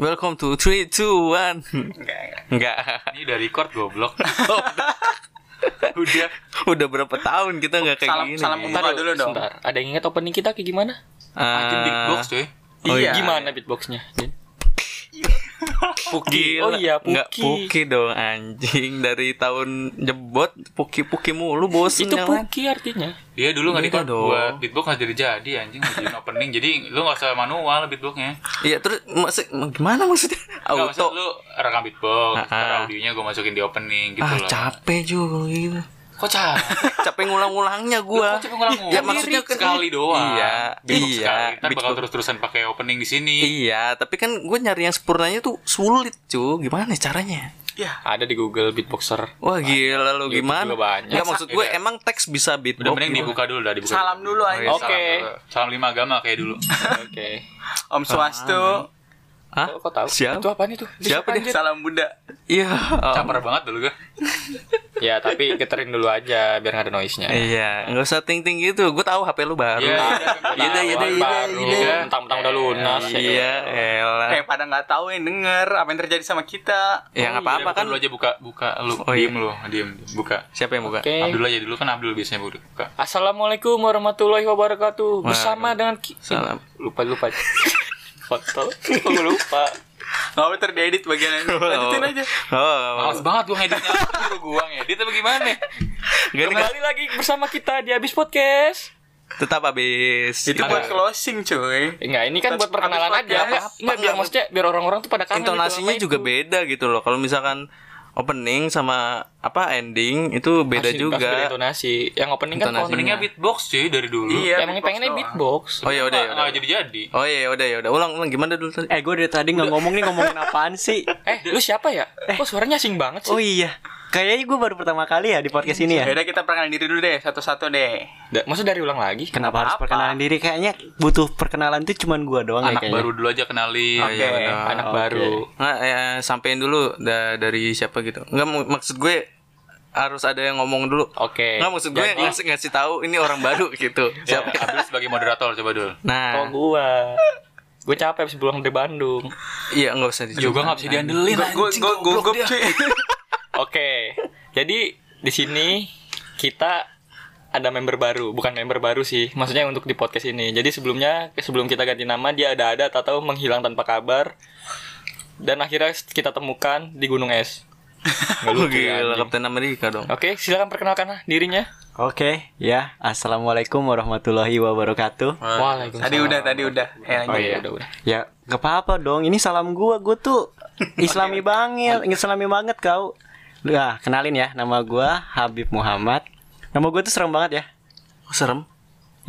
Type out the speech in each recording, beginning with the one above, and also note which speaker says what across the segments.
Speaker 1: Welcome to 3, 2, 1
Speaker 2: Enggak, enggak.
Speaker 1: Enggak Oh,
Speaker 2: Ini udah record goblok. udah.
Speaker 1: Udah berapa tahun kita nggak kayak
Speaker 2: Salam-
Speaker 1: gini
Speaker 2: salam
Speaker 1: Eh,
Speaker 2: Buka
Speaker 3: Ntar
Speaker 2: dulu dong.
Speaker 3: Sebentar. Ada yang ingat opening kita kayak gimana?
Speaker 1: Ah,
Speaker 2: Makin big box cuy.
Speaker 1: Oh iya.
Speaker 3: Gimana beatboxnya? Jin?
Speaker 1: Puki
Speaker 3: Oh iya, Puki.
Speaker 1: Nggak Puki dong anjing Dari tahun jebot Puki-puki mulu bosen
Speaker 3: Itu
Speaker 1: yang lain.
Speaker 3: Puki artinya.
Speaker 2: Dia Iya, dulu nggak
Speaker 1: Beda
Speaker 2: record
Speaker 1: Iya dong.
Speaker 2: buat beatbox nggak jadi jadi anjing mau jadiin opening. Jadi lu nggak usah manual beatboxnya.
Speaker 1: Iya terus maksud, Gimana maksudnya
Speaker 2: Nggak,
Speaker 1: Auto
Speaker 2: maksud lu rekam beatbox,
Speaker 1: Ah,
Speaker 2: ntar
Speaker 1: ah.
Speaker 2: audionya gue masukin di opening gitu
Speaker 1: Ah
Speaker 2: loh.
Speaker 1: capek juga gitu
Speaker 2: Kok capek?
Speaker 1: Capek ngulang-ulangnya
Speaker 2: Gua
Speaker 1: gua
Speaker 2: cuma ngulang
Speaker 1: Ya maksudnya kan-
Speaker 2: sekali doang.
Speaker 1: Iya
Speaker 2: beatbox
Speaker 1: Iya
Speaker 2: sekali. Ntar bakal
Speaker 1: beatbox-
Speaker 2: terus-terusan pakai opening di sini.
Speaker 1: Iya, tapi kan gue nyari yang sempurnanya tuh sulit, cu. Gimana caranya?
Speaker 3: Ada di Google beatboxer.
Speaker 1: Wah, gila lu
Speaker 3: YouTube
Speaker 1: gimana?
Speaker 3: juga banyak.
Speaker 1: Nggak, maksud gue
Speaker 2: Iya.
Speaker 1: emang teks bisa beatbox.
Speaker 2: Udah mending
Speaker 1: gitu.
Speaker 2: dibuka dulu dah dibuka.
Speaker 4: Salam dulu
Speaker 1: Oh, iya,
Speaker 4: aja.
Speaker 5: Oh, iya.
Speaker 3: Oke.
Speaker 2: Salam, dulu. Salam lima agama kayak dulu.
Speaker 3: Oke.
Speaker 4: Om
Speaker 5: Ah,
Speaker 4: Swastu,
Speaker 1: Hah?
Speaker 3: Kok kok tahu?
Speaker 1: Siapa?
Speaker 3: Itu apaan itu? Itu
Speaker 1: Siapa dia?
Speaker 3: apaan, Jin?
Speaker 4: salam Buddha.
Speaker 1: Iya. oh.
Speaker 2: Caper banget dulu gue.
Speaker 3: Ya, tapi geterin dulu aja biar nggak ada noise-nya.
Speaker 1: Iya, nggak usah ting-ting gitu. Gue tahu HP lu baru.
Speaker 2: Iya,
Speaker 1: Iya, iya, iya, iya,
Speaker 3: Nah, Baru,
Speaker 2: iya.
Speaker 3: Mentang-mentang udah lunas. ya.
Speaker 1: Iya,
Speaker 5: Ah.
Speaker 1: elah.
Speaker 4: Eh pada nggak tahu yang denger apa yang terjadi sama kita.
Speaker 1: Ya nggak apa-apa kan.
Speaker 2: Lu Iya, aja buka buka lu.
Speaker 1: Oh, iya.
Speaker 2: Diem lu, diem buka.
Speaker 1: Siapa yang buka?
Speaker 3: Oke.
Speaker 2: Abdul aja dulu kan Abdul biasanya buka. buka.
Speaker 3: Assalamualaikum warahmatullahi wabarakatuh.
Speaker 1: Waalaikumsalam.
Speaker 3: Bersama dengan Ki-
Speaker 1: Salam.
Speaker 3: Lupa lupa. Kontol. Gua lupa.
Speaker 4: Nggak apa ntar diedit bagian ini. Lanjutin aja.
Speaker 1: Oh,
Speaker 2: Males banget gua ngeditnya. Suruh gua ngedit apa gimana?
Speaker 1: gak nih,
Speaker 3: Kembali lagi bersama kita di Abis Podcast.
Speaker 1: tetap habis.
Speaker 4: Itu kan
Speaker 2: Ada.
Speaker 4: buat closing cuy.
Speaker 3: Enggak, ini kan buat
Speaker 4: Abis
Speaker 3: perkenalan
Speaker 4: podcast.
Speaker 3: aja. Enggak, biar maksudnya biar orang-orang tuh pada kangen gitu
Speaker 1: intonasinya
Speaker 3: sama
Speaker 1: juga
Speaker 3: itu.
Speaker 1: beda gitu loh. Kalau misalkan opening sama apa ending itu beda
Speaker 3: Masih-
Speaker 1: juga.
Speaker 3: masih beda intonasi. Yang opening kan
Speaker 1: Intonasinya.
Speaker 3: opening
Speaker 2: Mendingnya beatbox cuy dari dulu.
Speaker 4: Iya.
Speaker 3: emang
Speaker 4: beatbox
Speaker 3: pengennya
Speaker 4: doang.
Speaker 3: beatbox.
Speaker 1: Oh ya udah ya udah.
Speaker 2: Nggak jadi-jadi.
Speaker 1: Oh iya udah ya udah. Ulang ulang gimana dulu tadi?
Speaker 5: Eh gue dari tadi nggak ngomong nih ngomongin apaan sih
Speaker 3: Eh, lu siapa ya? Kok suaranya asing banget sih?
Speaker 5: Oh iya Kayaknya gue baru pertama kali ya di podcast ini ya
Speaker 4: Yaudah kita perkenalan diri dulu deh satu-satu deh.
Speaker 3: Da- Maksud dari ulang lagi?
Speaker 5: Kenapa harus
Speaker 4: Apa?
Speaker 5: perkenalan diri Kayaknya butuh perkenalan tuh cuman gue doang
Speaker 2: Anak
Speaker 5: ya kayaknya
Speaker 2: baru dulu aja kenalin.
Speaker 5: Iya,
Speaker 4: Oke.
Speaker 1: Ah,
Speaker 3: Anak baru.
Speaker 1: Nggak, ya, sampein dulu da- dari siapa gitu. Nggak mu- maksud gue harus ada yang ngomong dulu.
Speaker 3: Oke.
Speaker 1: Nggak maksud gue
Speaker 3: Jadi-
Speaker 1: ngasih ngasih tahu ini orang baru gitu.
Speaker 2: Ya,
Speaker 1: Siapa?
Speaker 2: Abdul sebagai moderator coba dulu.
Speaker 3: Oh,
Speaker 1: Nah,
Speaker 3: gua. Gue capek habis pulang dari Bandung.
Speaker 1: iya nggak usah dicoba.
Speaker 2: Juga nggak bisa diandelin.
Speaker 4: Gue gue gugup cuy.
Speaker 3: Oke, jadi di sini kita ada member baru, bukan member baru sih, maksudnya untuk di podcast ini. Jadi sebelumnya, sebelum kita ganti nama, dia ada-ada, tak tahu menghilang tanpa kabar, dan akhirnya kita temukan di Gunung Es. Nggak
Speaker 1: Oh,
Speaker 3: lucu ya,
Speaker 1: Gila,
Speaker 3: anjing.
Speaker 1: Kapten Amerika dong.
Speaker 3: Oke, silakan perkenalkan ah, dirinya.
Speaker 5: Oke ya Assalamualaikum warahmatullahi wabarakatuh
Speaker 3: Waalaikumsalam.
Speaker 4: Tadi udah tadi udah. Eh,
Speaker 3: Oh
Speaker 4: lanjut.
Speaker 3: iya, udah udah.
Speaker 5: Ya gak apa-apa dong Ini salam gue Gue tuh islami banget Islami banget kau Nah kenalin ya Nama gue Habib Muhammad Nama gue tuh serem banget ya
Speaker 1: Oh, serem.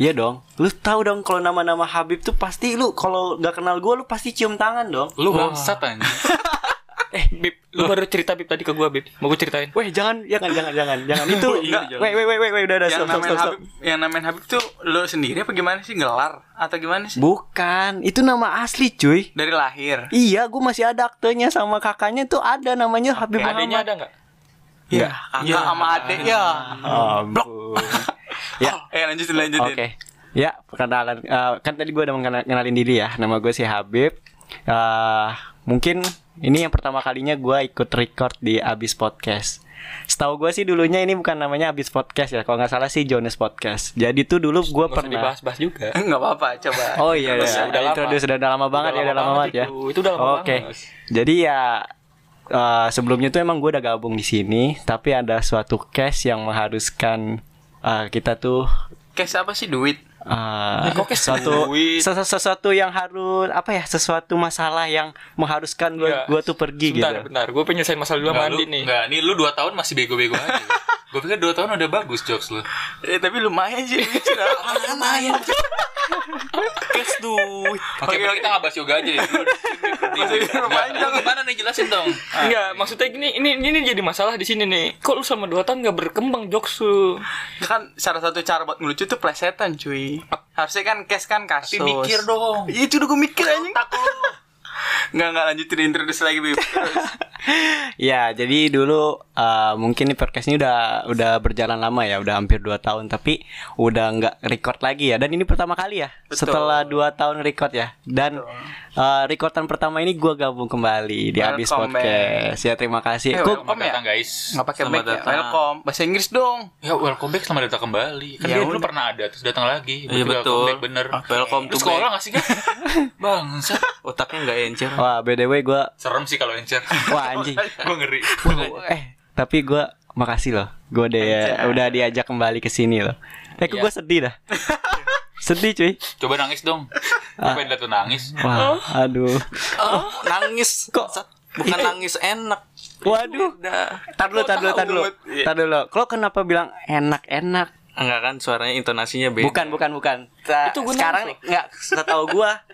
Speaker 5: Iya dong Lu tahu dong kalau nama-nama Habib tuh pasti lu Kalau gak kenal gue lu pasti cium tangan dong
Speaker 2: Lu bangsat anjing.
Speaker 3: Eh, Bib, lu baru cerita Bib tadi ke gua, Bib. Mau gue ceritain?
Speaker 5: Weh jangan jangan jangan jangan jangan itu.
Speaker 4: Enggak.
Speaker 5: Weh weh weh weh weh, udah udah
Speaker 4: Yang
Speaker 5: stop stop
Speaker 4: namain
Speaker 5: stop. stop.
Speaker 4: Habib, yang namain Habib tuh lo sendiri apa gimana sih gelar atau gimana sih?
Speaker 5: Bukan, itu nama asli cuy.
Speaker 4: Dari lahir.
Speaker 5: Iya, gue masih ada aktenya sama kakaknya tuh ada namanya Habib
Speaker 3: Adanya
Speaker 5: Muhammad.
Speaker 3: ada nggak?
Speaker 4: Iya. Kakak sama adik ya.
Speaker 5: Ampun. ya,
Speaker 4: Eh lanjutin
Speaker 5: oke.
Speaker 4: lanjutin.
Speaker 5: Ya, perkenalan eh, kan tadi gue udah mengenal- kenalin diri ya. Nama gue si Habib. Eh, mungkin ini yang pertama kalinya gue ikut record di Abis Podcast. Setahu gue sih dulunya ini bukan namanya Abis Podcast ya. Kalau nggak salah sih Jonas Podcast. Jadi tuh dulu gue
Speaker 3: Nggak usah
Speaker 5: pernah
Speaker 3: dibahas-bahas juga.
Speaker 4: Enggak apa-apa coba.
Speaker 5: Oh iya,
Speaker 3: Terus
Speaker 5: iya.
Speaker 3: udah lama.
Speaker 5: Introduce, udah, udah lama banget ya, udah lama banget ya.
Speaker 3: itu. Itu udah lama
Speaker 5: Oke.
Speaker 3: banget.
Speaker 5: Jadi ya eh, sebelumnya tuh emang gue udah gabung di sini, tapi ada suatu case yang mengharuskan eh, kita tuh
Speaker 4: Cash apa sih duit?
Speaker 5: eh,
Speaker 3: kok case
Speaker 5: suatu
Speaker 3: duit?
Speaker 5: sesu- sesuatu yang harus apa ya sesuatu masalah yang mengharuskan gue
Speaker 3: Iya.
Speaker 5: gua tuh pergi
Speaker 3: Bentar,
Speaker 5: gitu.
Speaker 3: bentar. Gue penyelesaian masalah dulu sama
Speaker 2: Nggak, lu,
Speaker 3: Andi nih.
Speaker 2: nggak, nih lu 2 tahun masih bego-bego aja. Gue pikir 2 tahun udah bagus jokes lu.
Speaker 4: Eh tapi lumayan sih duit. Lumayan.
Speaker 1: Kes duit.
Speaker 2: Oke, berarti kita nggak bahas yoga aja ya. Lu-
Speaker 4: Masih lumayan
Speaker 2: Lu gimana nih jelasin dong.
Speaker 3: Enggak, maksudnya gini, ini ini jadi masalah di sini nih. Kok lu sama dua tahun nggak berkembang jokes lu?
Speaker 4: kan salah satu cara buat ngelucu tuh plesetan cuy harusnya kan cash kan kasus
Speaker 2: Tapi mikir dong.
Speaker 4: Iya, itu udah gue mikir anjing Nggak, nggak lanjutin introduce lagi Bib Terus.
Speaker 5: Ya, jadi dulu eh, mungkin nih podcast ini udah udah berjalan lama ya, udah hampir 2 tahun tapi udah nggak record lagi ya. Dan ini pertama kali ya setelah 2 tahun record ya. Dan eh, recordan pertama ini gua gabung kembali di Abis
Speaker 4: Welcome back.
Speaker 5: Podcast. Ya terima kasih.
Speaker 4: Eh,
Speaker 5: Kok-
Speaker 2: Selamat
Speaker 4: Welcome ya?
Speaker 2: datang guys.
Speaker 4: Nggak pakai mic
Speaker 1: Selamat
Speaker 4: ya.
Speaker 1: datang.
Speaker 4: Welcome. Bahasa Inggris dong.
Speaker 2: Ya welcome back selamat datang kembali. Kan
Speaker 4: Ya
Speaker 2: dia dulu
Speaker 4: udah.
Speaker 2: pernah ada terus datang lagi.
Speaker 1: Iya
Speaker 2: Berarti
Speaker 1: betul.
Speaker 2: Welcome back bener.
Speaker 1: Welcome
Speaker 2: Lu
Speaker 1: to
Speaker 2: sekolah
Speaker 1: back.
Speaker 2: nggak sih kan? Bangsa.
Speaker 1: Otaknya nggak encer.
Speaker 5: Wah, by the way gue
Speaker 2: Serem sih kalau encer.
Speaker 5: Wah anjing.
Speaker 2: Gue ngeri.
Speaker 5: eh tapi gue makasih loh. Gue udah ya, udah diajak kembali ke sini loh. Eh kok
Speaker 2: Iya.
Speaker 5: gue sedih dah. sedih cuy.
Speaker 2: Coba nangis dong. Gue pengen liat lu nangis.
Speaker 5: Wah, aduh.
Speaker 1: nangis
Speaker 5: Kok?
Speaker 1: Bukan nangis enak.
Speaker 5: Waduh.
Speaker 1: Udah.
Speaker 5: Tar dulu, tar dulu, tar dulu.
Speaker 1: Iya.
Speaker 5: Tar dulu. Lo kenapa bilang enak-enak?
Speaker 1: Enggak kan suaranya intonasinya beda.
Speaker 5: Bukan, bukan, bukan. Ta- sekarang nggak setahu gua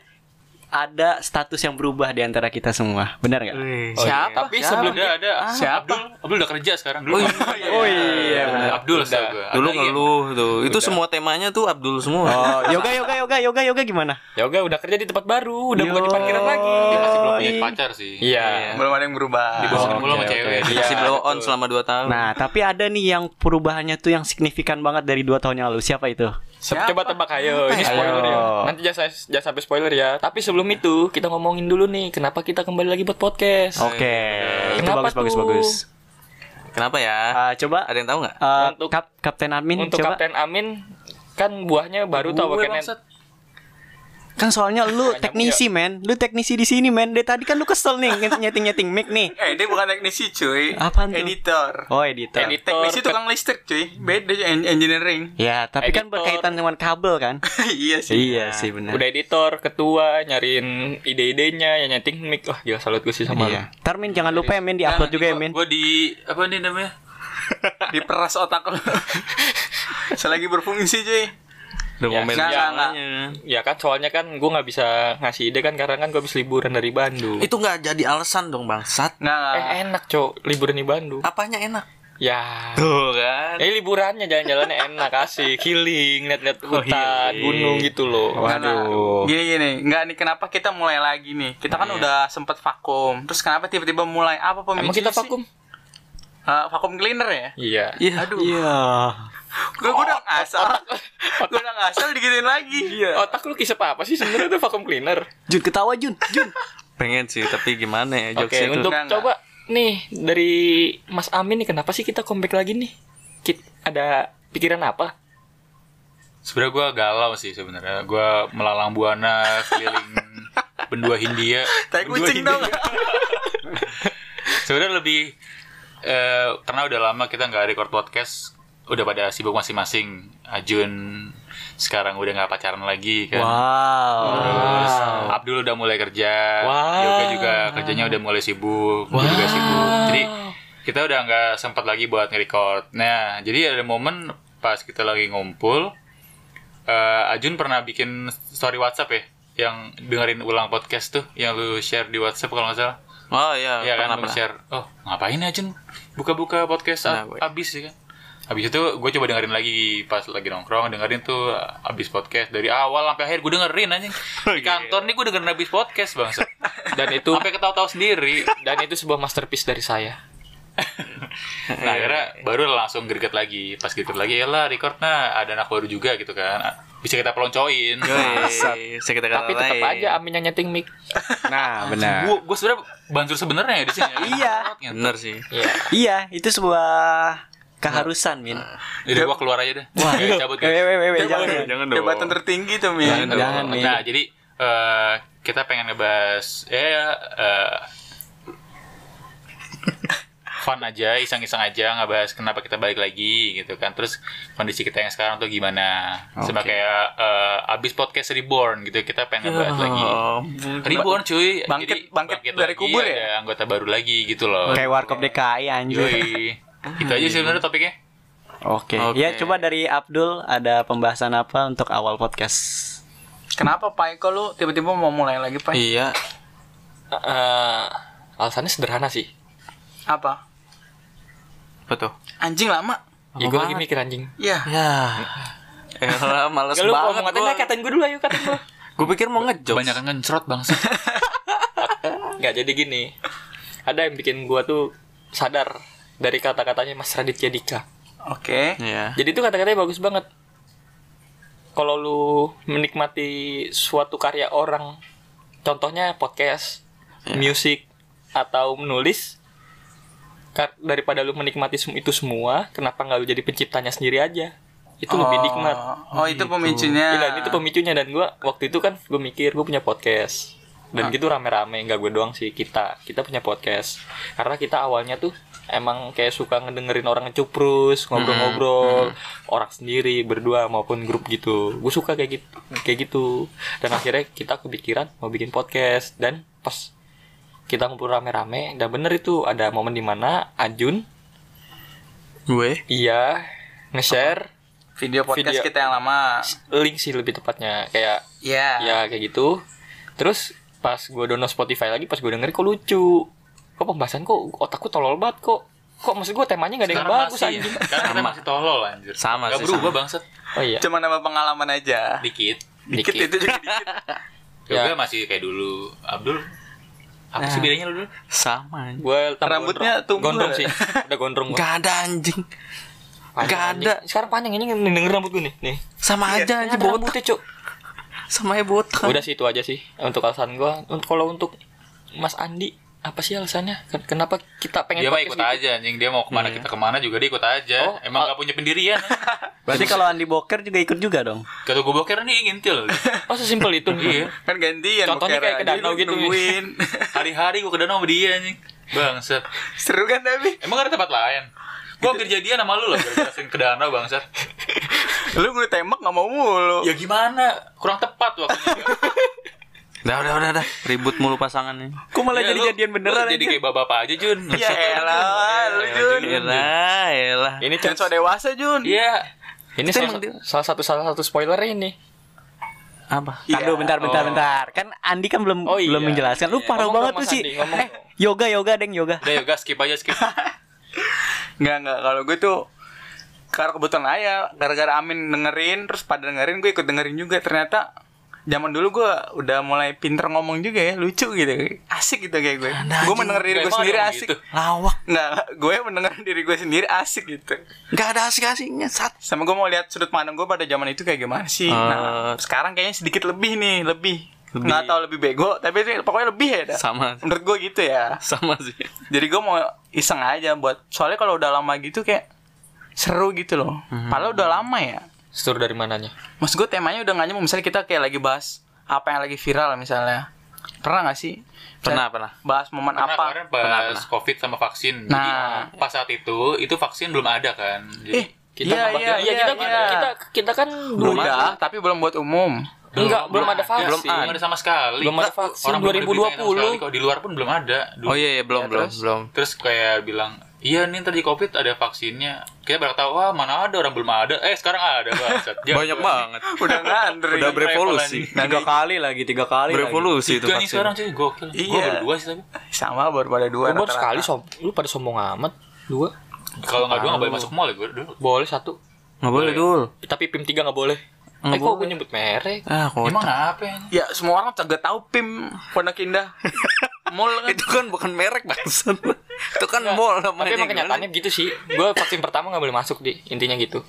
Speaker 5: ada status yang berubah di antara kita semua. Benar nggak?
Speaker 1: Wih.
Speaker 4: Siapa?
Speaker 3: Tapi
Speaker 4: Siapa?
Speaker 3: sebelum
Speaker 2: Ada ada.
Speaker 4: Siapa?
Speaker 2: Abdul, Abdul udah kerja sekarang dulu.
Speaker 5: Oh iya benar.
Speaker 2: Abdul setahu gua.
Speaker 1: Dulu
Speaker 2: Ada yang-
Speaker 1: ngeluh tuh. Itu semua temanya tuh Abdul semua.
Speaker 5: Oh, yoga, yoga, yoga, yoga, yoga gimana?
Speaker 3: Yoga Ya udah kerja di tempat baru, udah bukan di
Speaker 5: Yo.
Speaker 3: parkiran lagi.
Speaker 2: Dia masih belum punya pacar sih.
Speaker 3: Iya.
Speaker 4: Belum ada yang berubah.
Speaker 2: Dibohongin
Speaker 3: Oh,
Speaker 2: mulu sama
Speaker 3: oke,
Speaker 2: cewek.
Speaker 3: oke.
Speaker 2: Iya.
Speaker 1: Masih blow on selama 2 tahun.
Speaker 5: Nah, tapi ada nih yang perubahannya tuh yang signifikan banget dari dua tahun yang lalu. Siapa itu?
Speaker 4: Siapa?
Speaker 3: Coba tebak ayo, ini
Speaker 5: Ayo.
Speaker 3: spoiler ya. Nanti jangan jangan sampai spoiler ya. Tapi sebelum itu kita ngomongin dulu nih kenapa kita kembali lagi buat podcast.
Speaker 5: Oke, itu
Speaker 3: Kenapa
Speaker 5: bagus, bagus,
Speaker 3: tuh?
Speaker 5: bagus.
Speaker 1: Kenapa ya?
Speaker 5: Ah, coba
Speaker 1: Ada yang tahu nggak?
Speaker 5: ah,
Speaker 3: Untuk-
Speaker 5: Kap- Kapten Admin
Speaker 3: Untuk
Speaker 5: coba.
Speaker 3: Kapten Amin kan buahnya baru tau
Speaker 2: Gue
Speaker 3: kan
Speaker 2: bangsat.
Speaker 5: Kan soalnya lu
Speaker 3: Banyak
Speaker 5: teknisi, men. Lu teknisi di sini, men. Dari tadi kan lu kesel nih nyeting-nyeting mic nih.
Speaker 4: Eh, dia bukan teknisi, cuy.
Speaker 5: Apaan tuh?
Speaker 4: Editor.
Speaker 5: Oh, editor.
Speaker 3: Edit- Editor.
Speaker 4: Teknisi tukang listrik, cuy. Beda en- engineering.
Speaker 5: Ya, tapi kan
Speaker 3: Editor.
Speaker 5: berkaitan dengan kabel kan?
Speaker 4: iya sih.
Speaker 5: iya sih benar.
Speaker 3: udah editor, ketua, nyariin ide-idenya, ya nyeting mic. Wah, gila salut gue sih sama
Speaker 5: Iya. Ntar Min jangan lupa ya Min di-upload juga ya Min.
Speaker 2: Gue di apa nih namanya?
Speaker 4: Diperas otak lu. Selagi berfungsi, cuy.
Speaker 1: Udah
Speaker 3: Ya,
Speaker 1: komen
Speaker 4: nggak, nggak,
Speaker 1: namanya.
Speaker 3: lu. Ya kan soalnya kan gue nggak bisa ngasih ide kan karena kan gue habis liburan dari Bandung.
Speaker 1: Itu nggak jadi alasan dong bangsat.
Speaker 4: Nggak, nggak.
Speaker 3: Eh enak cok liburan di Bandung.
Speaker 1: Apanya enak?
Speaker 3: Ya.
Speaker 1: Tuh kan.
Speaker 3: Eh liburannya jalan-jalannya enak asik, healing, lihat-lihat
Speaker 4: Oh,
Speaker 3: hutan, gunung gitu loh.
Speaker 5: Waduh.
Speaker 4: Gini gini, nggak nih kenapa kita mulai lagi nih? Kita kan udah sempet vakum. Terus kenapa tiba-tiba mulai apa pemicu?
Speaker 3: Emang kita
Speaker 4: sih?
Speaker 3: vakum?
Speaker 4: Eh, vakum cleaner ya?
Speaker 3: Iya.
Speaker 1: Iya.
Speaker 4: Aduh,
Speaker 5: Iya.
Speaker 4: gue udah ngasal. gue udah ngasal digituin lagi.
Speaker 3: Otak lu kisah apa sih sebenarnya tuh vakum cleaner?
Speaker 5: Jun ketawa Jun. Jun.
Speaker 1: Pengen sih, tapi gimana ya
Speaker 3: Oke,
Speaker 1: jokesnya tuh.
Speaker 3: untuk
Speaker 4: Enggak,
Speaker 3: coba nih dari Mas Amin nih kenapa sih kita comeback lagi nih? Kit ada pikiran apa?
Speaker 2: Sebenarnya gue galau sih sebenarnya. Gue melalang buana keliling benua Hindia.
Speaker 4: Tai
Speaker 2: Benua
Speaker 4: kucing
Speaker 2: Hindia.
Speaker 4: dong.
Speaker 2: Sebenarnya lebih eh, karena udah lama kita nggak record podcast, udah pada sibuk masing-masing. Ajun sekarang udah nggak pacaran lagi kan.
Speaker 5: Wow.
Speaker 2: Terus Abdul udah mulai kerja,
Speaker 3: Wow.
Speaker 2: Yoga juga kerjanya udah mulai sibuk, gue juga sibuk. Jadi kita udah nggak sempat lagi buat nge-record. Nah, jadi ada momen pas kita lagi ngumpul, eh, Ajun pernah bikin story WhatsApp ya, yang dengerin ulang podcast tuh, yang lu share di WhatsApp kalau nggak salah.
Speaker 1: Oh iya,
Speaker 2: Iya
Speaker 1: pernah
Speaker 2: kan, lu
Speaker 1: pernah.
Speaker 2: share. Oh, ngapain ya, Jun? Buka-buka podcast
Speaker 1: Pernah,
Speaker 2: ab-
Speaker 1: gue.
Speaker 2: abis ya kan. Abis itu gue coba dengerin lagi pas lagi nongkrong dengerin tuh abis podcast dari awal sampai akhir gue dengerin anjing di kantor nih gue dengerin abis podcast bangsa
Speaker 3: Dan itu
Speaker 2: sampai ketawa-tawa sendiri
Speaker 3: dan itu sebuah masterpiece dari saya.
Speaker 2: nah akhirnya baru langsung greget lagi pas greget lagi ya lah record nah ada anak baru juga gitu kan bisa kita peloncoin
Speaker 1: Iya. Yoi, saya kata
Speaker 3: Tapi tetap aja Amin yang nyeting mic. Eh,
Speaker 5: Nah, benar.
Speaker 2: gue gue sebenarnya banjur sebenarnya ya di sini
Speaker 5: Iya.
Speaker 1: Bener sih.
Speaker 3: Iya.
Speaker 5: Iya, itu sebuah keharusan, Min.
Speaker 2: jadi gue keluar aja deh wah cabut gitu. guys.
Speaker 5: Eh, weh, weh, weh, jangan.
Speaker 1: Jangan
Speaker 4: Jabatan tertinggi tuh,
Speaker 5: Jangan
Speaker 4: Min.
Speaker 5: dong. Jangan, Min.
Speaker 2: Nah, jadi eh, kita pengen ngebahas ya eh fun aja, iseng-iseng aja ngebahas kenapa kita balik lagi gitu kan. Terus kondisi kita yang sekarang tuh gimana? Sama kayak eh, abis podcast reborn gitu, kita pengen ngebahas lagi.
Speaker 1: Oh,
Speaker 2: Reborn cuy. Jadi,
Speaker 4: Bangkit- bangkit
Speaker 2: lagi, Iya,
Speaker 4: dari kubur ya?
Speaker 2: Ada anggota baru lagi gitu loh.
Speaker 5: Kayak warkop DKI anjir.
Speaker 2: Yoi. Itu aja sih sebenarnya topiknya.
Speaker 5: Oke.
Speaker 1: Oke.
Speaker 5: Ya coba dari Abdul ada pembahasan apa untuk awal podcast?
Speaker 4: Kenapa Pak Eko lu tiba-tiba mau mulai lagi, Pak?
Speaker 1: Iya.
Speaker 3: Eh, alasannya sederhana sih.
Speaker 4: Apa?
Speaker 1: Apa tuh?
Speaker 4: Anjing lama.
Speaker 3: Ya gue lagi mikir anjing.
Speaker 4: Ya.
Speaker 1: Ya. Elah, males
Speaker 3: Gak lu mau
Speaker 1: banget
Speaker 3: ngatain nggak? katain gue dulu ayo katain gue.
Speaker 1: Gue pikir mau ngejok.
Speaker 2: Banyak ngencrot bangsa.
Speaker 3: Nggak jadi gini Ada yang bikin gua tuh sadar dari kata-katanya Mas Raditya Dika.
Speaker 4: Oke.
Speaker 1: Iya.
Speaker 3: Jadi itu kata-katanya bagus banget. Kalau lu menikmati suatu karya orang, contohnya podcast, musik, atau menulis, kar- daripada lu menikmati sem- itu semua, kenapa nggak lu jadi penciptanya sendiri aja? Itu lebih nikmat.
Speaker 4: Oh, itu pemicunya.
Speaker 3: Iya, dan itu pemicunya dan gua waktu itu kan gue mikir gue punya podcast dan gitu rame-rame nggak gue doang sih kita kita punya podcast karena kita awalnya tuh emang kayak suka ngedengerin orang ngecuprus ngobrol-ngobrol orang sendiri berdua maupun grup gitu gue suka kayak gitu kayak gitu dan akhirnya kita kepikiran mau bikin podcast dan pas kita ngumpul rame-rame dan bener itu ada momen dimana Ajun
Speaker 1: Gue.
Speaker 3: iya nge-share
Speaker 4: video podcast
Speaker 3: Video.
Speaker 4: kita yang lama.
Speaker 3: link sih lebih tepatnya kayak
Speaker 4: Iya.
Speaker 3: ya kayak gitu terus pas gue download Spotify lagi pas gue dengerin kok lucu kok pembahasan kok otakku tolol banget kok kok maksud gue temanya gak ada yang
Speaker 2: Sekarang
Speaker 3: bagus
Speaker 2: masih, ya?
Speaker 3: anjing
Speaker 2: Sekarang kita masih tolol anjir.
Speaker 1: Sama
Speaker 2: Nggak
Speaker 1: sih,
Speaker 2: berubah
Speaker 1: sama.
Speaker 2: bangsat.
Speaker 3: oh iya
Speaker 4: Cuma nama pengalaman aja.
Speaker 2: Dikit.
Speaker 4: Dikit,
Speaker 3: dikit
Speaker 4: itu juga dikit.
Speaker 2: Yoga masih kayak dulu. Abdul, apa sih bedanya lu dulu?
Speaker 1: Sama.
Speaker 3: gue
Speaker 4: Rambutnya tumbuh.
Speaker 3: gondrong sih udah gondrong gua.
Speaker 1: Gak ada anjing.
Speaker 3: Panjang,
Speaker 1: gak
Speaker 3: anjing.
Speaker 1: ada.
Speaker 3: sekarang panjang ini denger rambut gue nih nih
Speaker 1: Sama aja
Speaker 3: Ada
Speaker 1: anjing botak.
Speaker 3: Iya, rambutnya cuk
Speaker 1: Sama aja botak.
Speaker 3: udah sih itu aja sih untuk alasan gue kalau untuk Mas Andi apa sih alasannya Ken- kenapa kita
Speaker 2: Dia
Speaker 3: pengen
Speaker 2: mah
Speaker 3: podcast
Speaker 2: ikut
Speaker 3: gitu?
Speaker 2: aja anjing. Dia mau kemana kita kemana juga dia ikut aja.
Speaker 3: Oh,
Speaker 2: Emang nggak punya pendirian.
Speaker 5: Berarti kalau Andi Boker juga ikut juga dong.
Speaker 2: Kata gue boker nih ngintil.
Speaker 3: oh sesimpel itu
Speaker 2: Iya.
Speaker 4: kan gantian
Speaker 3: Contohnya
Speaker 4: boker
Speaker 3: kayak ke
Speaker 4: aja,
Speaker 3: danau
Speaker 4: lu
Speaker 3: gitu.
Speaker 4: nungguin.
Speaker 2: Hari-hari gue ke danau sama dia anjing. Bangsat.
Speaker 4: Seru kan tapi?
Speaker 2: Emang ada tempat lain? Gue hampir jadian sama lu loh. gara-gara sering ke danau bangsat.
Speaker 4: Lu gue tembak gak mau mulu.
Speaker 2: Ya gimana? Kurang tepat waktunya.
Speaker 1: Udah, udah, udah, udah. Ribut mulu pasangannya.
Speaker 5: Kok malah
Speaker 2: Ya,
Speaker 5: jadi
Speaker 2: lu-
Speaker 5: jadian
Speaker 2: lu
Speaker 5: beneran
Speaker 2: Jadi kayak bapak aja Jun.
Speaker 4: Ya elah, lu Jun.
Speaker 1: Iya, Elah, elah.
Speaker 3: ini
Speaker 4: Jangan
Speaker 3: cuma
Speaker 4: so dewasa Jun.
Speaker 2: Iya.
Speaker 3: Ini
Speaker 1: Itu
Speaker 3: salah,
Speaker 1: emang dia-
Speaker 3: salah satu salah satu spoiler ini.
Speaker 1: Apa?
Speaker 5: Tar dulu, bentar bentar bentar. Kan Andi kan belum
Speaker 3: Oh, iya.
Speaker 5: belum menjelaskan. Lu
Speaker 3: Iya.
Speaker 5: parah
Speaker 3: Ngomong
Speaker 5: banget
Speaker 3: dong,
Speaker 5: tuh
Speaker 3: Mas
Speaker 5: sih.
Speaker 3: Andi, ngomong
Speaker 5: Eh,
Speaker 3: dong.
Speaker 5: yoga yoga deng yoga.
Speaker 2: Udah yoga skip aja skip.
Speaker 4: Enggak enggak kalau gue tuh karena kebetulan aja gara-gara Amin dengerin terus pada dengerin gue ikut dengerin juga ternyata zaman dulu gue udah mulai pinter ngomong juga ya lucu gitu asik gitu kayak gue gue mendengar diri gue
Speaker 2: Emang ada
Speaker 4: sendiri
Speaker 2: yang
Speaker 4: asik
Speaker 2: gitu?
Speaker 1: Lawak.
Speaker 4: nggak gue mendengar diri gue sendiri asik gitu
Speaker 1: Gak ada asik-asiknya. Sat.
Speaker 4: sama gue mau lihat sudut pandang gue pada zaman itu kayak gimana
Speaker 2: Eh.
Speaker 4: sih nah sekarang kayaknya sedikit lebih nih lebih nggak tahu lebih bego tapi itu pokoknya lebih ya dah.
Speaker 1: Sama.
Speaker 4: menurut gue gitu ya
Speaker 1: Sama sih.
Speaker 4: jadi gue mau iseng aja buat soalnya kalau udah lama gitu kayak seru gitu loh
Speaker 1: Hmm.
Speaker 4: padahal udah lama ya
Speaker 3: Setur dari mananya?
Speaker 4: maksud gue temanya udah gak nyambung misalnya kita kayak lagi bahas apa yang lagi viral misalnya pernah gak sih
Speaker 1: Pernah, pernah.
Speaker 4: bahas momen
Speaker 2: Karena
Speaker 4: apa
Speaker 2: kemarin pas COVID sama vaksin. Jadi
Speaker 4: Nah.
Speaker 2: pas saat itu itu vaksin belum ada kan. Jadi
Speaker 4: eh
Speaker 3: nggak
Speaker 4: iya iya
Speaker 3: bakal-
Speaker 4: iya
Speaker 3: kita, kita kita kan
Speaker 4: udah
Speaker 3: belum
Speaker 4: tapi belum buat umum
Speaker 3: enggak belum, ada vaksin.
Speaker 2: Belum ada sama sekali.
Speaker 3: Belum ada
Speaker 2: Enggak,
Speaker 3: vaksin,
Speaker 2: orang belum ada berita sama
Speaker 3: 2020.
Speaker 2: sekali. Kalau di luar pun belum ada. Dulu.
Speaker 1: Oh iya, iya belum, belum, belum.
Speaker 2: Terus kayak bilang, iya nih ntar di COVID ada vaksinnya. Kita baru tahu, wah mana ada orang belum ada. Eh sekarang ada bangsat. Jangan.
Speaker 1: Banyak banget.
Speaker 4: udah ngantri
Speaker 1: Udah berevolusi.
Speaker 5: Tiga kali lagi, tiga kali
Speaker 1: Berevolusi itu
Speaker 2: Tiga nih
Speaker 1: vaksin.
Speaker 2: sekarang cuy, gokil. Gue
Speaker 4: Iya.
Speaker 2: berdua sih tapi.
Speaker 4: sama baru pada dua
Speaker 3: Gua baru
Speaker 4: rata-rata.
Speaker 3: sekali som lu pada sombong amat dua
Speaker 2: Kalau nggak dua nggak boleh masuk mall ya gue dulu.
Speaker 3: boleh satu
Speaker 1: Nggak boleh, Dul.
Speaker 3: tapi pim tiga nggak boleh. eh
Speaker 1: Nggak
Speaker 3: kok gue
Speaker 1: boleh.
Speaker 3: nyebut merek?
Speaker 1: Ah, kok.
Speaker 2: Emang apa ya?
Speaker 4: ya semua orang juga tahu pim pondok indah mall kan
Speaker 1: itu kan bukan merek bangsat. itu kan mall namanya.
Speaker 3: Tapi emang kenyataannya gitu sih. Gue vaksin pertama nggak boleh masuk di intinya gitu.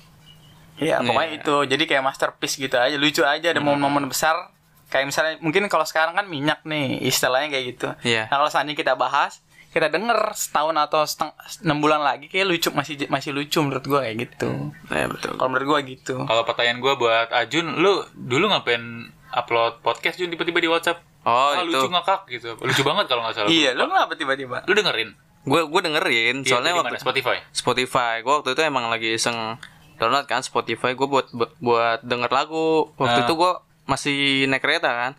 Speaker 4: Iya, pokoknya itu. Jadi kayak masterpiece gitu aja, lucu aja
Speaker 1: Hmm.
Speaker 4: ada momen-momen besar. Kayak misalnya mungkin kalau sekarang kan minyak nih istilahnya kayak gitu.
Speaker 1: Iya.
Speaker 4: Nah, kalau seandainya kita bahas, kita denger setahun atau seteng- enam bulan lagi kayak lucu masih masih lucu menurut gua kayak gitu.
Speaker 1: Ya, betul.
Speaker 4: Kalau menurut gua gitu.
Speaker 2: Kalau pertanyaan gue buat Ajun, lu dulu ngapain upload podcast Jun tiba-tiba di WhatsApp?
Speaker 1: Oh,
Speaker 2: Ah,
Speaker 1: itu.
Speaker 2: lucu ngakak gitu. Lucu banget kalau nggak salah.
Speaker 4: Iya, lu kenapa tiba-tiba?
Speaker 2: Lu dengerin?
Speaker 1: Gue gue dengerin soalnya
Speaker 2: Iya, dari
Speaker 1: waktu
Speaker 2: mana? Spotify.
Speaker 1: Spotify. Gue waktu itu emang lagi iseng download kan Spotify. Gue buat bu- buat denger lagu. Waktu itu gue masih naik kereta kan.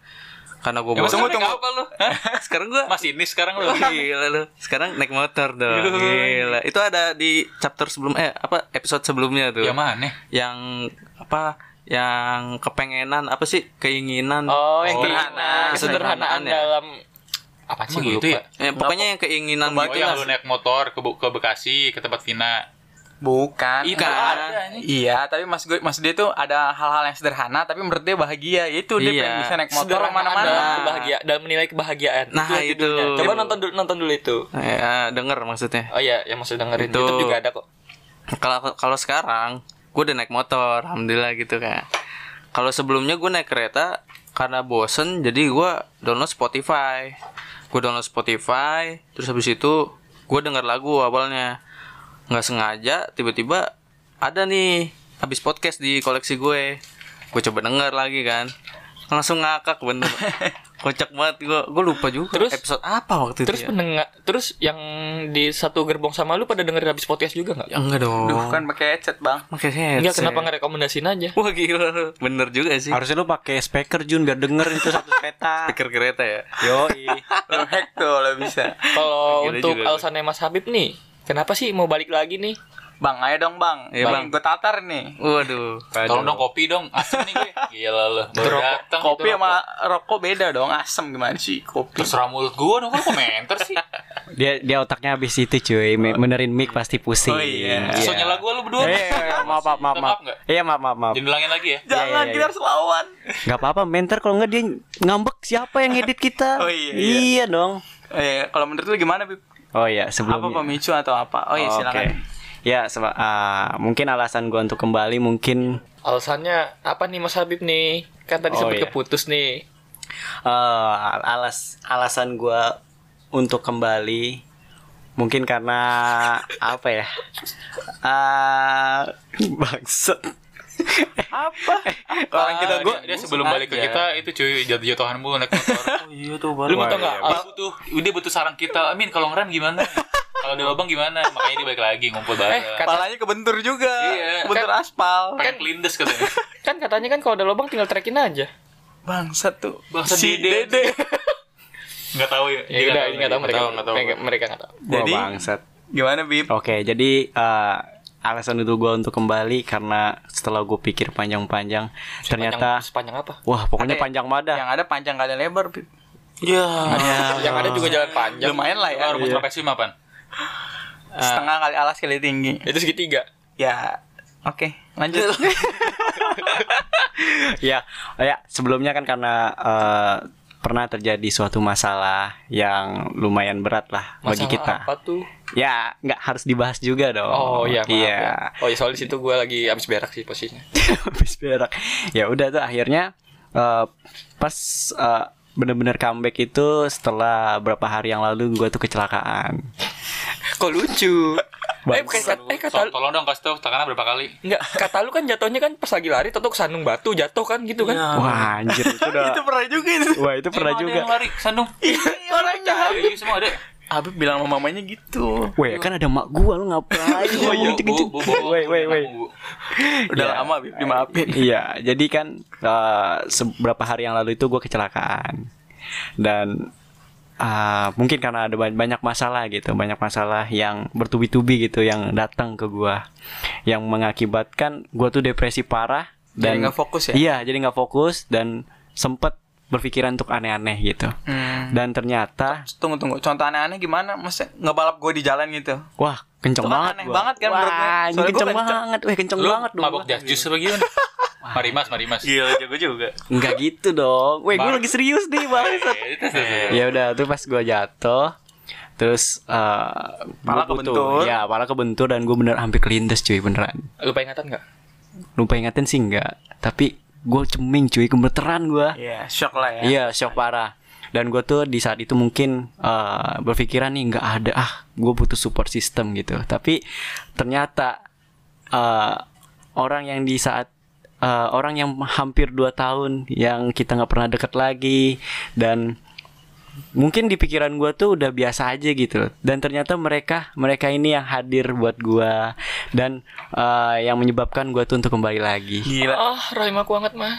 Speaker 1: Karena gue
Speaker 2: Ya,
Speaker 1: bosan.
Speaker 2: tunggu, tunggu. Apa lu? Hah?
Speaker 1: Sekarang gue
Speaker 2: Masih ini sekarang Oh, lu.
Speaker 1: gila lu. Sekarang naik motor dong. Gila. Itu ada di chapter sebelum eh apa episode sebelumnya tuh.
Speaker 2: ya mana?
Speaker 1: Yang apa? Yang kepengenan apa sih? Keinginan.
Speaker 3: Oh, yang
Speaker 1: sederhana.
Speaker 3: sederhana, kesederhanaan
Speaker 1: Kesederhanaan ya?
Speaker 3: dalam apa sih
Speaker 2: Emang
Speaker 3: gue
Speaker 2: gitu
Speaker 3: lupa.
Speaker 2: ya?
Speaker 1: Eh, pokoknya yang keinginan
Speaker 2: Oh,
Speaker 1: gitu
Speaker 2: yang
Speaker 1: lah.
Speaker 2: lu naik motor ke, Be- ke Bekasi, ke tempat Vina.
Speaker 4: Bukan.
Speaker 1: Itu
Speaker 4: Enggak.
Speaker 1: ada,
Speaker 2: anjing.
Speaker 4: Iya, tapi mas gue, mas dia tuh ada hal-hal yang sederhana, tapi menurut dia bahagia. Itu dia
Speaker 1: Iya.
Speaker 4: pengen bisa naik motor
Speaker 3: Sederhana dalam
Speaker 4: kemana-mana.
Speaker 3: kebahagia- dalam menilai kebahagiaan.
Speaker 1: Nah,
Speaker 3: inti
Speaker 1: itu.
Speaker 3: dulunya. Coba nonton dulu nonton dulu itu.
Speaker 1: Ya, denger maksudnya.
Speaker 3: Oh iya, yang maksud dengerin
Speaker 1: Itu.
Speaker 3: YouTube juga ada kok.
Speaker 1: Kalau kalau sekarang gue udah naik motor, alhamdulillah gitu kan. Kalau sebelumnya gue naik kereta karena bosen jadi gue download Spotify. Gue download Spotify, terus habis itu gue denger lagu awalnya. Nggak sengaja tiba-tiba ada nih habis podcast di koleksi gue. Gue coba denger lagi kan. Langsung ngakak bener. Kocak banget gue. Gue lupa juga
Speaker 3: Terus-
Speaker 1: episode apa waktu
Speaker 3: Terus
Speaker 1: itu. ya?
Speaker 3: pendengar, terus yang di satu gerbong sama lu pada dengerin habis podcast juga nggak?
Speaker 1: Ya enggak dong.
Speaker 4: Duh, kan pakai headset, Bang.
Speaker 1: Makanya
Speaker 3: Enggak, kenapa ngerekomendasiin aja?
Speaker 1: Wah gila lu. Bener juga sih
Speaker 5: Harusnya lu pakai speaker Jun biar denger itu satu peta.
Speaker 1: Pikir kereta ya
Speaker 5: Yoi.
Speaker 4: Lo hack tuh, lo bisa.
Speaker 3: Kalau
Speaker 1: Gila
Speaker 3: untuk
Speaker 1: juga gua.
Speaker 3: alasannya Mas Habib nih, kenapa sih mau balik lagi nih?
Speaker 4: Bang, ayo dong, Bang.
Speaker 1: Iya,
Speaker 4: bang,
Speaker 1: Bang.
Speaker 4: gue tatar nih.
Speaker 1: Waduh
Speaker 2: Tolong dong kopi dong. Asem nih gue. Gila lu. Baru dateng.
Speaker 4: Kopi
Speaker 2: gitu.
Speaker 4: sama rokok beda dong, asem gimana sih kopi.
Speaker 2: Terserah mulut gue dong. Kan komentar sih.
Speaker 5: Dia dia otaknya habis itu cuy. Me- Benerin mic pasti pusing.
Speaker 4: Oh, iya.
Speaker 2: So nyala gue lu berdua.
Speaker 5: Eh, maaf
Speaker 2: Minta
Speaker 5: maaf maaf. maaf.
Speaker 2: maaf nggak?
Speaker 5: Iya, maaf maaf maaf.
Speaker 2: Jangan ulangin lagi ya.
Speaker 4: Jangan, kita harus lawan.
Speaker 5: Gak apa-apa, mentor kalau nggak dia ngambek siapa yang edit kita?
Speaker 4: Oh, iya, iya.
Speaker 5: Iya dong.
Speaker 4: Eh, kalau menurut lu gimana, Bib?
Speaker 5: Oh iya,
Speaker 4: Apa
Speaker 5: sebelumnya.
Speaker 4: pemicu atau apa? Oh iya,
Speaker 5: Oke.
Speaker 4: silakan.
Speaker 5: Ya, seba- ah, mungkin alasan gua untuk kembali mungkin
Speaker 3: Alasannya apa nih Mas Habib nih? Kan tadi
Speaker 5: Oh,
Speaker 3: sempat
Speaker 5: iya.
Speaker 3: keputus nih.
Speaker 5: eh alas alasan gua untuk kembali mungkin karena apa ya? Ah, bangsat.
Speaker 4: Apa?
Speaker 5: Orang kita
Speaker 2: Dia, Nah, dia sebelum balik ke kita itu cuy jatuh-jatuhan mulu naik motor.
Speaker 1: Iya tuh
Speaker 3: Lu mau tau nggak?
Speaker 2: dia butuh dia butuh saran kita. Amin kalau ngerem gimana? kalau di lubang gimana? Makanya dia balik lagi ngumpul bareng.
Speaker 3: Eh,
Speaker 2: Eh,
Speaker 3: kat-
Speaker 4: Palanya kebentur juga.
Speaker 2: Iya.
Speaker 4: Bentur aspal.
Speaker 2: Pengen kelindes katanya.
Speaker 3: Kan katanya kan kalau ada lubang tinggal trekin aja.
Speaker 4: Bangsat tuh.
Speaker 2: Bangsat
Speaker 4: si
Speaker 2: Dede.
Speaker 4: Dede.
Speaker 2: Nggak tahu ya.
Speaker 3: Ya udah, ini nggak tahu mereka.
Speaker 2: Nggak tahu.
Speaker 3: Mereka mereka nggak tahu.
Speaker 5: Gua
Speaker 4: Jadi-
Speaker 5: bangsat.
Speaker 4: Gimana, Bib?
Speaker 5: Oke, jadi eh, alasan itu gua untuk kembali karena setelah gue pikir panjang-panjang ternyata
Speaker 3: Sepanjang, sepanjang apa?
Speaker 5: wah pokoknya
Speaker 4: Ada- Ya.
Speaker 5: panjang madah.
Speaker 4: Yang ada panjang kali lebar, Bib.
Speaker 3: Yang ada juga jalan panjang.
Speaker 4: Lumayan lah ya.
Speaker 2: Kalau rumus trapesium apaan?
Speaker 4: Setengah kali alas kali tinggi.
Speaker 3: Itu segitiga.
Speaker 4: Ya, oke. Lanjut.
Speaker 5: ya, ya sebelumnya kan karena eh, pernah terjadi suatu masalah yang lumayan berat lah bagi
Speaker 3: Masalah
Speaker 5: kita.
Speaker 3: Apa tuh?
Speaker 5: Ya, nggak harus dibahas juga dong.
Speaker 3: Oh, iya, maaf
Speaker 5: iya.
Speaker 3: ya. Oh iya, soal di situ gue lagi abis berak sih posisinya.
Speaker 5: Habis berak. Ya udah tuh akhirnya eh, pas eh, bener-bener comeback itu setelah berapa hari yang lalu gua tuh kecelakaan.
Speaker 3: Kok lucu? eh,
Speaker 5: Bagus.
Speaker 3: kayak, eh kata
Speaker 2: Tol- Tolong dong kasih tahu tangannya berapa kali.
Speaker 3: Enggak, kata lu kan jatuhnya kan pas lagi lari tahu kesandung batu jatuh kan gitu kan.
Speaker 2: Iya.
Speaker 5: Wah, anjir itu udah.
Speaker 4: Itu pernah juga itu.
Speaker 5: wah, itu pernah
Speaker 2: Emang ada
Speaker 5: juga.
Speaker 2: yang lari sandung.
Speaker 4: Iya, orangnya Habib.
Speaker 2: Iya semua ada.
Speaker 4: Habib bilang sama mamanya gitu.
Speaker 5: Weh, kan ada mak gua lu ngapain?
Speaker 2: Oh iya, Bu, Bu, Bu.
Speaker 5: Weh, weh, weh.
Speaker 2: Bu.
Speaker 4: Udah
Speaker 5: Iya.
Speaker 4: lama Habib dimaafin.
Speaker 5: Iya, jadi kan eh, seberapa hari yang lalu itu gue kecelakaan dan ah, mungkin karena ada ba- banyak masalah gitu, banyak masalah yang bertubi-tubi gitu yang datang ke gue, yang mengakibatkan gue tuh depresi parah
Speaker 4: Dan
Speaker 5: dan
Speaker 4: nggak fokus ya.
Speaker 5: iya jadi nggak fokus dan sempet berpikiran untuk aneh-aneh gitu.
Speaker 4: Hmm.
Speaker 5: Dan ternyata
Speaker 4: Tunggu tunggu. Contoh aneh-aneh gimana? Mas ngebalap gue di jalan gitu.
Speaker 5: wah
Speaker 4: Itu
Speaker 5: kenceng
Speaker 4: kan
Speaker 5: banget
Speaker 4: aneh
Speaker 5: gua.
Speaker 4: banget kan
Speaker 5: Wah,
Speaker 4: menurut gua.
Speaker 5: anjing,
Speaker 4: Soalnya gua
Speaker 5: kenceng
Speaker 4: kenceng.
Speaker 5: banget, weh kenceng
Speaker 2: Lu
Speaker 5: banget dong.
Speaker 2: mabok
Speaker 5: gua.
Speaker 2: jas jus apa gimana? Marimas, Marimas.
Speaker 4: Gila jago juga.
Speaker 5: Nggak gitu dong. Weh gue
Speaker 2: Baru-
Speaker 5: lagi serius nih banget.
Speaker 2: Eh, itu, itu, itu.
Speaker 5: ya udah tuh pas gua jatuh terus eh
Speaker 4: Pala
Speaker 5: gua butuh-
Speaker 4: kebentur.
Speaker 5: ya pala kebentur dan gue bener hampir kelindes cuy beneran
Speaker 2: iya.
Speaker 3: Lupa ingatan enggak?
Speaker 5: lupa ingatin sih enggak tapi gue ceming cuy gemeteran gua
Speaker 4: Iya, shock lah ya.
Speaker 5: iya shock parah dan gue tuh di saat itu mungkin eh, berpikiran nih nggak ada ah gue butuh support system gitu tapi ternyata eh, orang yang di saat eh, orang yang hampir 2 tahun yang kita nggak pernah deket lagi dan mungkin di pikiran gue tuh udah biasa aja gitu loh. dan ternyata mereka mereka ini yang hadir buat gue dan eh, yang menyebabkan gue tuh untuk kembali lagi
Speaker 4: Gila.
Speaker 3: Ah, rahim aku anget mah.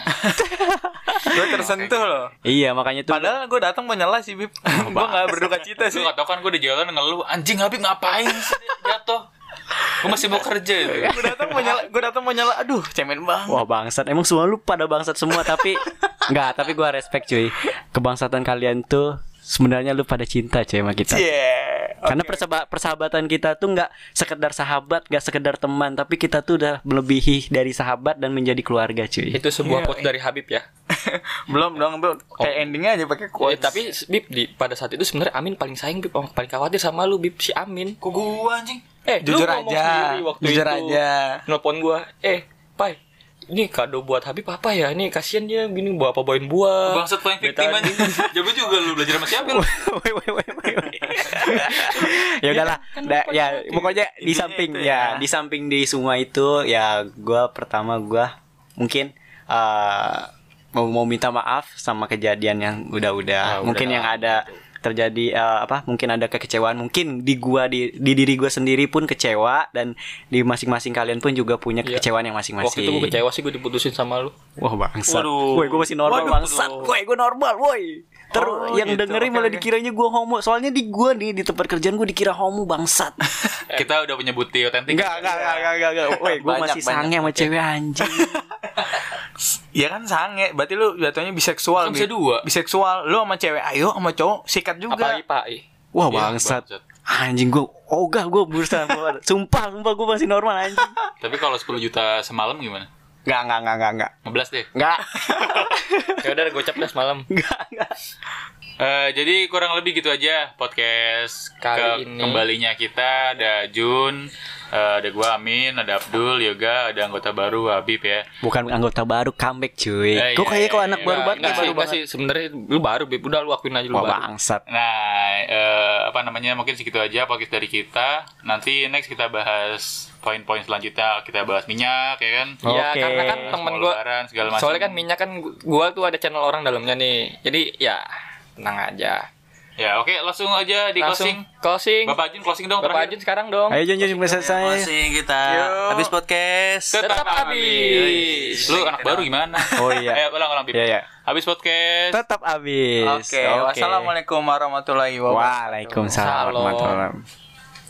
Speaker 4: Gue tersentuh loh.
Speaker 5: iya makanya tuh
Speaker 4: Padahal gue datang mau nyela sih, Bib. gue gak berduka cita
Speaker 2: Lu
Speaker 4: sih.
Speaker 2: gak tau kan gue di jalan ngeluh Anjing Habib ngapain sih dia jatuh Gue masih mau kerja gitu.
Speaker 4: Gue datang mau nyela, gue datang mau nyela. Aduh, cemen banget.
Speaker 5: Wah bangsat, emang semua lu pada bangsat semua tapi nggak, tapi
Speaker 4: Iya,
Speaker 5: gua respect cuy. Kebangsatan kalian tuh sebenarnya lu pada cinta cuy sama kita.
Speaker 4: Yeah.
Speaker 5: Karena persaba- persahabatan kita tuh nggak sekedar sahabat, nggak sekedar teman, tapi kita tuh udah melebihi dari sahabat dan menjadi keluarga, cuy.
Speaker 3: Itu sebuah quote dari Habib ya.
Speaker 4: belum dong belum kayak endingnya aja
Speaker 3: Eh,
Speaker 4: pakai quotes
Speaker 3: tapi Bib di, pada saat itu sebenarnya Amin paling sayang Bib, Oh, paling khawatir sama lu Bib si Amin.
Speaker 2: Kok gua anjing?
Speaker 3: Eh, lu
Speaker 4: Jujur
Speaker 3: ngomong
Speaker 4: aja,
Speaker 3: sendiri waktu
Speaker 4: jujur
Speaker 3: itu.
Speaker 4: aja.
Speaker 3: Nelpon gua, "Eh, Pai, ini kado buat Habib apa ya? Ini kasihan dia gini bawa apa bawain buah."
Speaker 2: Bangsat paling
Speaker 3: Beta-
Speaker 2: victim anjing. Jago juga lu belajar sama siapa lu?
Speaker 5: Woi, woi, woi, woi, woi. ya udahlah Da- ya pokoknya di
Speaker 4: Intinya
Speaker 5: samping
Speaker 4: itu
Speaker 5: ya.
Speaker 4: ya.
Speaker 5: di samping di semua itu ya gua pertama gua mungkin eh, mau mau minta maaf sama kejadian yang
Speaker 3: Ah,
Speaker 5: udah-udah mungkin yang ada terjadi eh, apa mungkin ada kekecewaan mungkin di gua di, di diri gua sendiri pun kecewa dan di masing-masing kalian pun juga punya
Speaker 3: Iya.
Speaker 5: kekecewaan yang masing-masing
Speaker 3: Waktu itu gua kecewa sih gua diputusin sama lu.
Speaker 5: Wah bangsat.
Speaker 1: Waduh.
Speaker 5: Woi gue masih normal
Speaker 1: Waduh.
Speaker 5: bangsat. Woi gue normal, woi. Terus
Speaker 4: Oh,
Speaker 5: yang
Speaker 4: gitu.
Speaker 5: dengerin
Speaker 4: Oke,
Speaker 5: malah
Speaker 4: oke.
Speaker 5: dikiranya gue homo. Soalnya di gue nih di tempat kerjaan gue dikira homo bangsat.
Speaker 2: Kita udah punya bukti otentik.
Speaker 5: enggak, enggak, enggak, enggak, enggak, enggak. Woi gue
Speaker 4: Banyak,
Speaker 5: masih
Speaker 4: banyak.
Speaker 5: sange sama cewek anjing.
Speaker 4: ya kan sange berarti lu jatuhnya biseksual
Speaker 2: Kan bisa
Speaker 4: Bi.
Speaker 2: dua.
Speaker 4: biseksual lu sama cewek ayo sama cowok sikat juga
Speaker 3: Apalagi Pai.
Speaker 5: Wah
Speaker 2: Iya,
Speaker 5: bangsat. Anjing gue. Ogah gue berusaha keluar. Sumpah, sumpah gue masih normal anjing.
Speaker 2: Tapi kalau 10 juta semalam gimana?
Speaker 5: Enggak, enggak, enggak, enggak, enggak.
Speaker 2: 15 deh.
Speaker 5: Enggak.
Speaker 3: Ya udah gua cap dah semalam.
Speaker 5: Enggak, enggak.
Speaker 2: Eh, jadi kurang lebih gitu aja podcast
Speaker 3: Kali ini.
Speaker 2: kembalinya kita ada Jun, eh, ada gua Amin, ada Abdul, Yoga, ada anggota baru Habib ya.
Speaker 5: Bukan anggota baru comeback cuy.
Speaker 2: Eh, iya,
Speaker 5: Gue kayaknya kalau
Speaker 2: iya,
Speaker 5: anak
Speaker 2: iya,
Speaker 5: baru
Speaker 3: Enggak, enggak
Speaker 5: banget nih,
Speaker 3: sih,
Speaker 5: baru
Speaker 3: enggak
Speaker 5: banget.
Speaker 3: sih. Sebenarnya lu baru Bib, udah lu akuin aja lu
Speaker 5: Wah
Speaker 3: baru.
Speaker 5: bangsat.
Speaker 2: Nah, eh, apa namanya? Mungkin segitu aja podcast dari kita. Nanti next kita bahas poin-poin selanjutnya. Kita bahas minyak ya kan.
Speaker 3: Iya,
Speaker 5: Oke.
Speaker 3: karena kan
Speaker 2: Bahas
Speaker 3: temen
Speaker 2: mau
Speaker 3: gua
Speaker 2: lebaran, segala macam.
Speaker 3: Soalnya kan minyak kan gu- gua tuh ada channel orang dalamnya nih. Jadi ya tenang aja.
Speaker 2: Ya, oke, langsung aja di
Speaker 3: Langsung
Speaker 2: closing.
Speaker 3: closing.
Speaker 2: Bapak Jun closing dong terakhir.
Speaker 3: Bapak Ajun sekarang dong.
Speaker 5: Ayo Jun, Jun, selesai.
Speaker 1: Masih kita
Speaker 4: Yuk.
Speaker 1: habis podcast.
Speaker 3: Tetap habis.
Speaker 2: Lu anak baru gimana?
Speaker 5: Oh, iya.
Speaker 2: Eh, ulang-ulang Bib.
Speaker 5: Iya, iya.
Speaker 2: Habis podcast.
Speaker 5: Tetap habis.
Speaker 4: oke wassalamualaikum warahmatullahi wabarakatuh
Speaker 5: Waalaikumsalam warahmatullahi wabarakatuh.